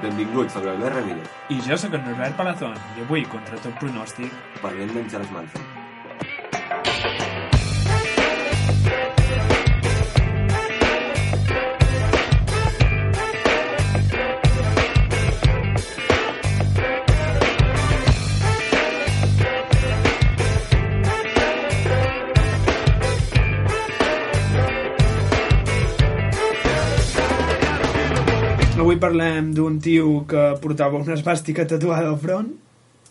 Benvinguts al Bernat Ramírez. I jo sóc en Norbert Palazón i avui, contra tot pronòstic, Parlem d'en Charles Manson. avui parlem d'un tio que portava una esbàstica tatuada al front,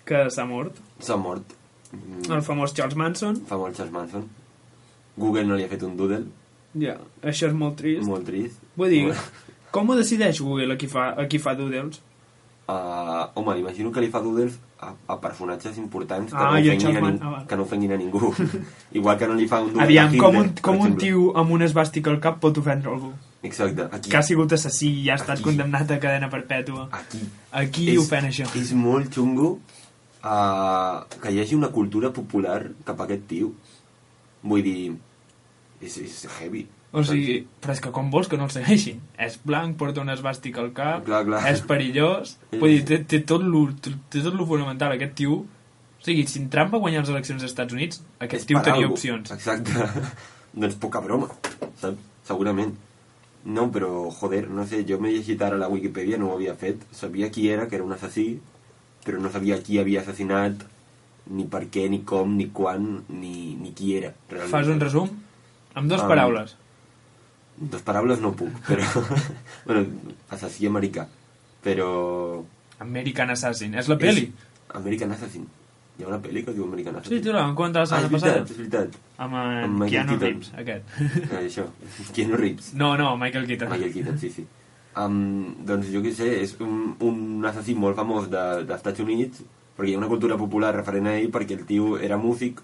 que s'ha mort, S'ha mort. Mm, el famós Charles Manson. Fa molt Charles Manson. Google no li ha fet un doodle. Ja, això és molt trist. Molt trist. Vull dir, Molt- com ho decideix Google a qui fa, a qui fa doodles? Uh, home, imagino que li fa doodles a, a personatges importants que, Ah, no i a ofenguin a Charles nin- Man- ah, val. que no ofenguin a ningú. Igual que no li fa un doodle a Aviam, Hitler, com un, per com un exemple. tio amb una esbàstica al cap pot ofendre algú? Exacte, aquí. Que ha sigut assassí i ha estat Aquí. condemnat a cadena perpètua. Aquí. Aquí ofèn això. És molt xungo uh, que hi hagi una cultura popular cap a aquest tio. Vull dir, és, és heavy. O sigui, però és que com vols que no el segueixin? És blanc, porta una esbàstica al cap, Clar, clar. és perillós... Sí, Vull dir, sí. té, té, tot lo, té tot lo fundamental, aquest tio... O sigui, si en Trump va guanyar les eleccions als Estats Units, aquest És tio per tenia algo. opcions. Exacte. doncs poca broma, saps? Segurament. No, però, joder, no sé, jo m'he llegit ara la Wikipedia, no ho havia fet. Sabia qui era, que era un assassí, però no sabia qui havia assassinat, ni per què, ni com, ni quan, ni, ni qui era. Realment. Fas un resum? Amb dues Ah. paraules. Dos paraules no puc, però... bueno, assassí americà, però... American Assassin. És la peli. És American Assassin. Hi ha una pel·li que es diu American Sí, Assassin. tio, la vam comentar ah, la és setmana veritat, passada. és veritat. Amb Amb en Michael Keanu Keaton. Reeves, aquest. Eh, això, Keanu Reeves. No, no, Michael Keaton. Michael Keaton, sí, sí. Um, doncs jo què sé, és un, un assassí molt famós de, dels Estats Units, perquè hi ha una cultura popular referent a ell, perquè el tio era músic,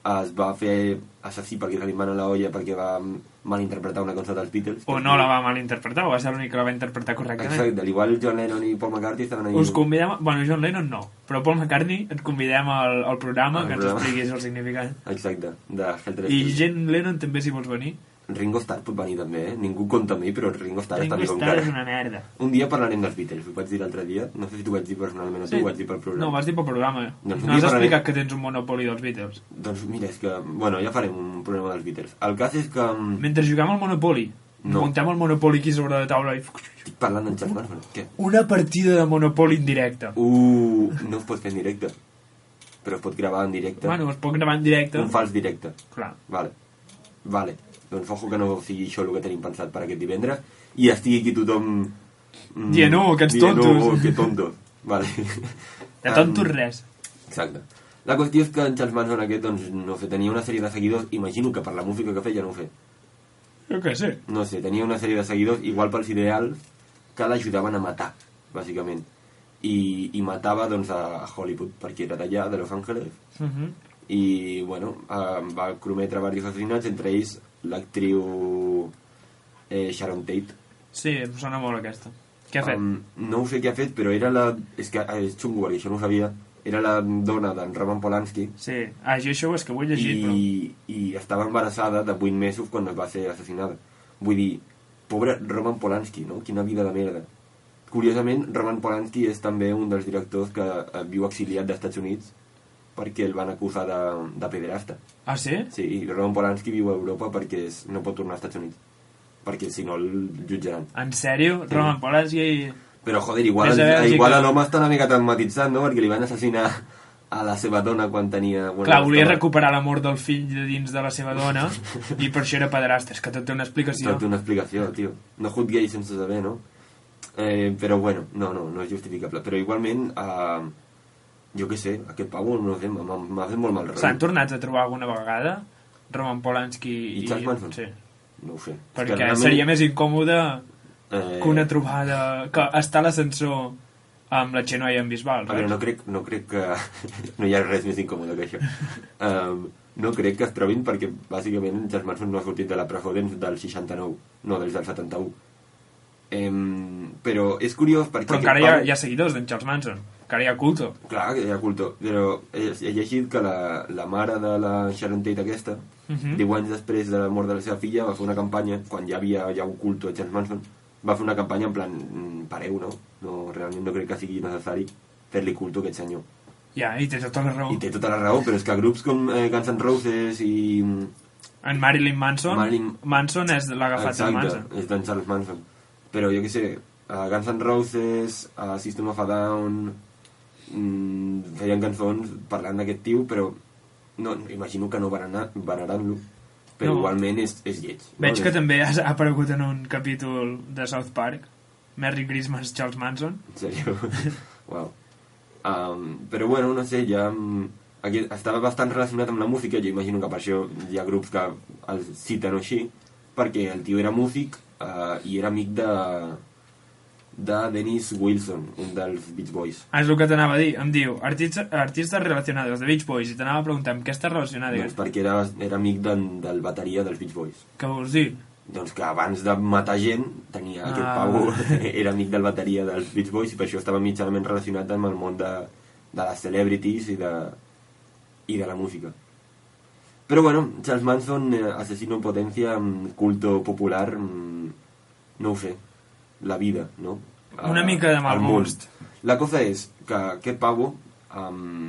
es va fer assassí perquè se li mana la olla perquè va malinterpretar una cançó dels Beatles. O no la va malinterpretar, o va ser l'únic que la va interpretar correctament. Exacte, al igual John Lennon i Paul McCartney estaven ahí... Us convidem... A... Bueno, John Lennon no, però Paul McCartney et convidem al, al programa Al que ens programa. expliquis el significat. Exacte, de Helter I Skelter. John Lennon també, si vols venir. Ringo Starr pot venir també, eh? Ningú compta amb ell, però el Ringo Starr està Ringo viu Starr encara. és una merda. Un dia parlarem dels Beatles, ho vaig dir l'altre dia. No sé si t'ho vaig dir personalment o tu, ho vaig dir pel programa. No, vas dir pel programa. eh? Doncs un dia no has explicat parlarem. que tens un monopoli dels Beatles. Doncs mira, és que... Bueno, ja farem un programa dels Beatles. El cas és que... mm, Mentre juguem al monopoli, No. muntem el monopoli aquí sobre la taula i... Estic parlant en Charles Manson. Què? Una partida de monopoli en directe. Uh, no es pot fer en directe. Però es pot gravar en directe. Bueno, es pot gravar en directe. Un fals directe. Clar. Vale. Vale. Doncs ojo que no sigui això el que tenim pensat per aquest divendres i estigui aquí tothom... Mm, Dient, "Oh, aquests dient, tontos." "Oh, que tontos. Vale. De tontos Em, res. Exacte. La qüestió és que en Charles Manson aquest, doncs, no sé, tenia una sèrie de seguidors, imagino que per la música que feia, no ho sé, Jo què sé. no sé, tenia una sèrie de seguidors, igual pels ideals, que l'ajudaven a matar, bàsicament. I, i matava, doncs, a Hollywood, perquè era d'allà, de Los Angeles, Uh -huh. i, bueno, eh, va cometre diversos assassinats, entre ells l'actriu eh, Sharon Tate, Sí, em sona molt aquesta. Què ha fet? Um, Um, no ho sé què ha fet, però era la... És que eh, és xungo, perquè això no ho sabia. Era la dona d'en Roman Polanski, sí. Ah, jo això és que ho he llegit, I... però... i, i estava embarassada de 8 mesos quan es va ser assassinada. Vull dir, pobre Roman Polanski, no? Quina vida de merda. Curiosament, Roman Polanski és també un dels directors que eh, viu exiliat dels Estats Units perquè el van acusar de, de pederasta. Ah, sí? Sí, i Roman Polanski viu a Europa perquè és, no pot tornar als Estats Units, perquè si no el jutjaran. En sèrio? Sí. Roman Polanski... Però, joder, igual, Vés a a Bèlgica. igual a l'home està una mica traumatitzat, no?, perquè li van assassinar a la seva dona quan tenia... Bueno, Clar, volia estava- recuperar l'amor del fill de dins de la seva dona i per això era pederasta. És que tot té una explicació. Tot té una explicació, tio. No juzguei sense saber, no? Eh, però bueno, no, no, no és justificable. Però igualment, eh, jo què sé, aquest pavo, no sé, m'ha- m'ha fet molt mal rotllo. S'han tornat a trobar alguna vegada? Roman Polanski i... I Charles Manson? Sí. No ho sé. Perquè seria més incòmode eh, que una trobada... Que estar a l'ascensor amb la Xenoa i en Bisbal. A veure, saps? no crec, no crec que... no hi ha res més incòmode que això. Um, no crec que es trobin perquè, bàsicament, Charles Manson no ha sortit de la presó des del 69, no, des del 71. Um, però és curiós perquè... Però encara hi aquest ha, pavo- hi ha seguidors d'en Charles Manson. Encara hi ha culto. Clar, que hi ha culto, però he, he llegit que la, la mare de la Sharon Tate aquesta, uh Mhm. -huh. 10 anys després de la mort de la seva filla, va fer una campanya, quan ja havia ja un culto a Charles Manson, va fer una campanya en plan, mm, pareu, no? no realment no crec que sigui necessari fer-li culto a aquest senyor. Ja, i tens tota la raó. I té tota la raó, però és que grups com eh, Guns N' Roses i... mm, En Marilyn Manson, Marilyn- Manson és l'ha agafat de eh? Manson. és d'en Charles Manson. Però jo què sé, a Guns N' Roses, a System of a Down, mm, feien cançons parlant d'aquest tio, però no, imagino que no veneraran-lo. Però No. igualment és, és lleig. no? Veig que És- també has ha aparegut en un capítol de South Park. Merry Christmas, Charles Manson. En serio. wow. Um, però bueno, no sé, ja... mm, Aquí estava bastant relacionat amb la música, jo imagino que per això hi ha grups que el citen o així, perquè el tio era músic uh, i era amic de de Dennis Wilson, un dels Beach Boys. Ah, és el que t'anava a dir. Em diu, artistes, artistes relacionades de Beach Boys. I t'anava a preguntar amb què està relacionada. Doncs perquè era, era amic de, del bateria dels Beach Boys. Què vols dir? Doncs que abans de matar gent, tenia ah. Ah. aquest pavo, era amic del bateria dels Beach Boys i per això estava mitjanament relacionat amb el món de, de les celebrities i de, i de la música. Però bueno, Charles Manson, eh, asesino en potencia, mm, culto popular, mm, no ho sé, la vida, no? Ah, Una mica de mal al món. gust. La cosa és que aquest pavo, um,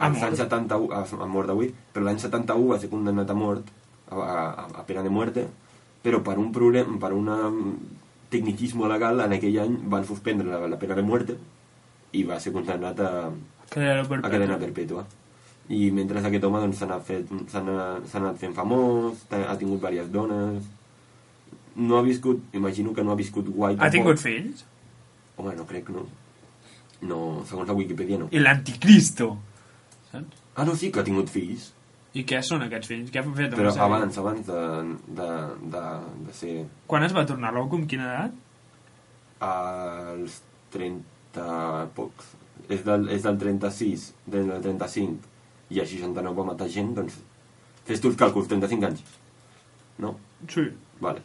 Ha als mort. anys 71, ha- ha mort avui, però l'any 71 va ser condemnat a mort, a, a, a pena de muerte, però per un problema, per un um, tecnicisme legal, en aquell any van suspendre la, la pena de muerte i va ser condemnat a, Cadena a perpètua. cadena perpètua. I mentre aquest home doncs, s'ha anat, fet- s'ha anat, s'ha anat fent famós, ta- ha tingut diverses dones... No ha viscut, imagino que no ha viscut guai... Ha tampoc. tingut fills? Home, no crec, no. No, segons la Wikipedia no. I l'anticristo. Saps? Ah, no, sí que ha tingut fills, I què són aquests fills? Què han fet? amb però la sèrie? abans, abans de, de, de, de ser Quan es va tornar loco? Amb quina edat? als 30 pocs, és del, és del 36, del 35, i a 69 va matar gent, doncs fes tu els càlculs, 35 anys. No? Sí. Vale.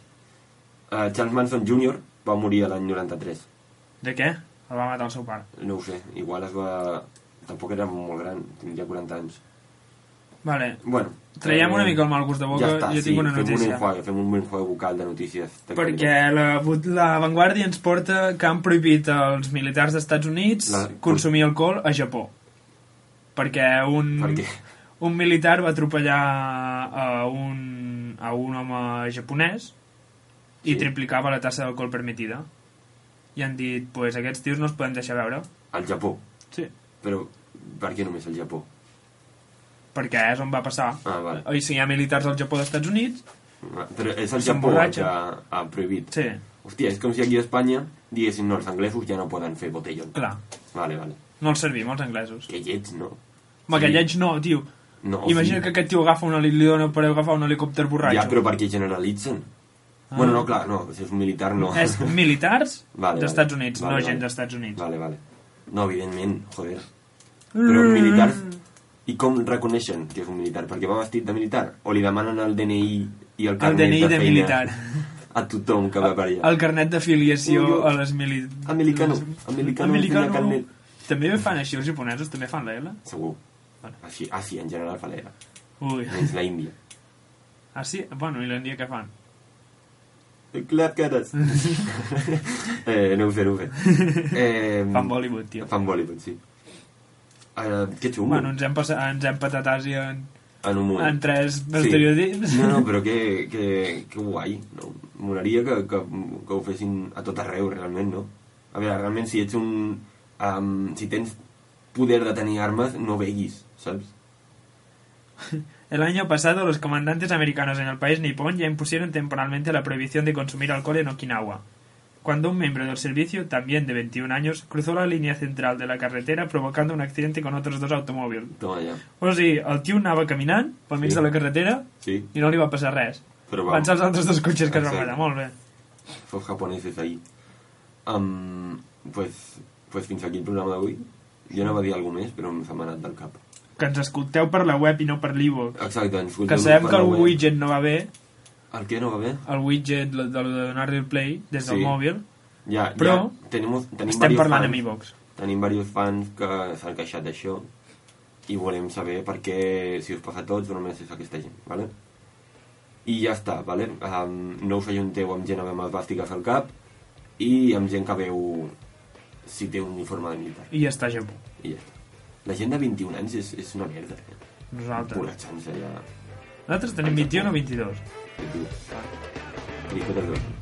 Uh, Charles Manson Jr. va morir a l'any 93. De què? El va matar el seu pare. No ho sé, igual es va... Tampoc era molt gran, tindria 40 anys. Vale. Bueno. Traiem eh, una mica el mal gust de boca, ja està, jo sí, tinc una Fem un notícia. enjuague, fem un enjuague vocal de notícies. Perquè la, la Vanguardia ens porta que han prohibit als militars dels Estats Units La- consumir alcohol a Japó. Perquè un, Per què? un militar va atropellar a un, a un home japonès Sí. i triplicava la tassa d'alcohol permitida. I han dit, doncs pues, aquests tios no els podem deixar veure. Al Japó. Sí. Però per què només al Japó? Perquè és on va passar. Ah, vale. I si hi ha militars al Japó dels Estats Units, Però és el Japó el S'emborratxa. que ha prohibit. sí, Hòstia, és com si aquí a Espanya diguessin no, els anglesos ja no poden fer botellón. clar, Vale, vale. no els servim els anglesos. Que llets, no? Home, Sí. que lleig no, tio. No, Imagina sí. que aquest tio agafa un, heli- li dona per agafar un helicòpter borratxo. Ja, però perquè generalitzen. Ah. Bueno, no, clar, no, si és un militar no. És militars Vale, dels Estats Units, vale, no vale. gent dels Estats Units. Vale, vale. No, evidentment, joder. Però els militars... Mm. I com reconeixen que és un militar? Perquè va vestit de militar? O li demanen el DNI i el El carnet DNI de feina militar. A tothom que va per allà. El carnet d'afiliació Ui, jo- a les mili... Americano. les- Americano, Americano. tenia carnet. També fan així els japonesos, també fan la L. Segur. Vale. Així, Àsia, en general, fa l'era. Ui. Menys la Índia. Ah, sí? Bueno, i l'Índia què fan? Clar que eres. eh, no ho sé, no ho sé. Eh, Fan Bollywood, tio. Fan Bollywood, sí. Eh, que xungo. Bueno, ens hem, passat, ens hem patat Àsia en, en un moment. en tres estereotips. No, no, però que, que, que guai. No? Molaria que, que, que ho fessin a tot arreu, realment, no? A veure, realment, si ets un... Um, si tens poder de tenir armes, no beguis, saps? El año pasado, los comandantes americanos en el país nipón ya impusieron temporalmente la prohibición de consumir alcohol en Okinawa, cuando un miembro del servicio, también de 21 años, cruzó la línea central de la carretera provocando un accidente con otros dos automóviles. Toma ja. O sigui, el tio anava caminant pel mig Sí. de la carretera Sí, i no li va passar res. però va. Van ser els altres dos cotxes que es van Exacte. parar, molt bé. Fos japoneses ahí. Um, pues, pues fins aquí el programa d'avui. Jo anava a dir alguna més, però se m'ha anat del cap. Que ens escolteu per la web i no per l'e-book. Exacte, ens Que sabem que el widget no va bé, El que no va bé? el widget de, de, de donar-li el play des del Sí. mòbil, Ja, Però ja, tenim, tenim estem varios parlant fans. amb e-box. Tenim diversos fans que s'han queixat d'això i volem saber per què, si us passa a tots o només és a aquesta gent, vale? I ja està, vale? Um, no us ajunteu amb gent amb esbàstiques al cap i amb gent que veu si té un uniforme de militar. I ja està, Japó. I ja està. La gent de 21 anys és, és una merda. Eh? Pura Nosaltres. xansa, ja. Nosaltres tenim 21 o 22. Et diu. I fotes dos.